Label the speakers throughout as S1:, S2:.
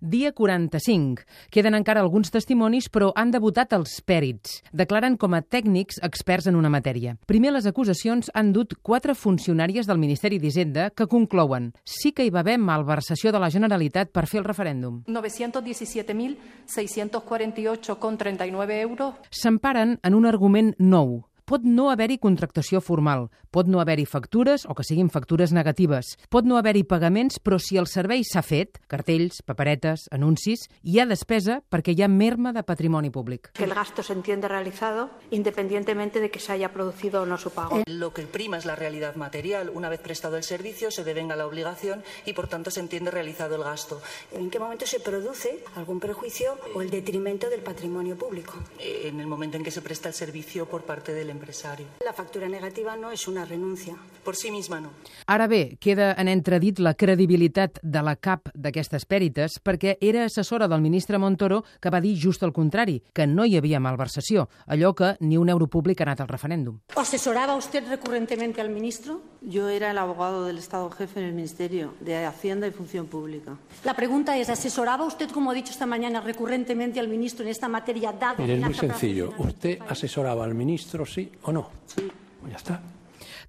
S1: dia 45. Queden encara alguns testimonis, però han debutat els pèrits. Declaren com a tècnics experts en una matèria. Primer, les acusacions han dut quatre funcionàries del Ministeri d'Hisenda que conclouen sí que hi va haver malversació de la Generalitat per fer el referèndum.
S2: 917.648,39 euros.
S1: S'emparen en un argument nou, pot no haver-hi contractació formal, pot no haver-hi factures o que siguin factures negatives, pot no haver-hi pagaments, però si el servei s'ha fet, cartells, paperetes, anuncis, hi ha despesa perquè hi ha merma de patrimoni públic.
S3: Que el gasto se entiende realizado independientemente de que se haya producido o no su pago.
S4: Eh,
S5: Eh,
S6: Lo que prima es la realidad material. Una vez prestado el servicio, se devenga la obligación y, por tanto, se entiende realizado el gasto.
S5: ¿En qué momento se produce algún perjuicio o el detrimento del patrimonio público?
S6: Eh, En el momento en que se presta el servicio por parte del empresario.
S5: La factura negativa no es una renuncia.
S6: Por sí misma no.
S1: Ara bé, queda en entredit la credibilitat de la cap d'aquestes pèrites perquè era assessora del ministre Montoro que va dir just el contrari, que no hi havia malversació, allò que ni un euro públic ha anat al referèndum.
S4: ¿O asesoraba usted recurrentemente al ministro?
S7: Yo era el abogado del Estado jefe en el Ministerio de Hacienda y Función Pública.
S4: La pregunta es, ¿asesoraba usted, como ha dicho esta mañana, recurrentemente al ministro en esta materia dada?
S8: Mire, es
S4: la
S8: muy
S4: capacidad
S8: sencillo.
S4: de-
S8: ¿Usted asesoraba al ministro, sí o no? Sí. Pues ya está.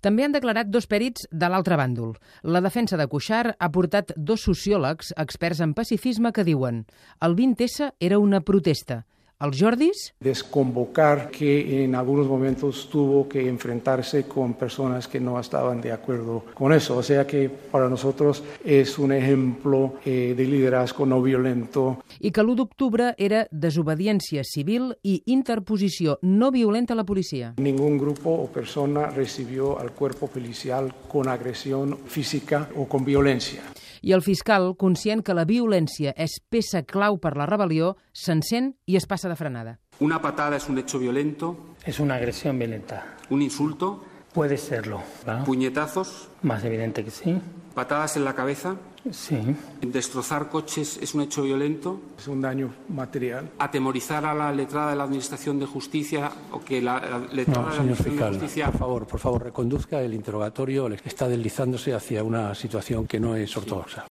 S1: També han declarat dos pèrits de l'altre bàndol. La defensa de Cuixart ha portat dos sociòlegs, experts en pacifisme, que diuen el 20S era una protesta. Els Jordis
S9: desconvocar que en algunos momentos tuvo que enfrentarse con personas que no estaban de acuerdo con eso. O sea que para nosotros es un ejemplo eh, de liderazgo no violento
S1: i que l'1 d'octubre era desobediència civil i interposició no violenta a la policia.
S9: Ningún grupo o persona recibió al cuerpo policial con agresión física o con violencia.
S1: I el fiscal, conscient que la violència és peça clau per la rebel·lió, s'encén i es passa de frenada.
S10: Una patada es un hecho violento,
S11: Es una agresión violenta.
S10: un insulto,
S11: Puede serlo. ¿verdad?
S10: puñetazos,
S11: Más evidente que sí.
S10: patadas en la cabeza,
S11: Sí.
S10: destrozar coches es un hecho violento,
S9: Es un daño material.
S10: atemorizar a la letrada de la Administración de Justicia o que la, la letrada
S8: No,
S10: de la
S8: señor
S10: Administración
S8: fiscal,
S10: de Justicia
S8: por favor, por favor, reconduzca el interrogatorio. Está deslizándose hacia una situación que no es ortodoxa.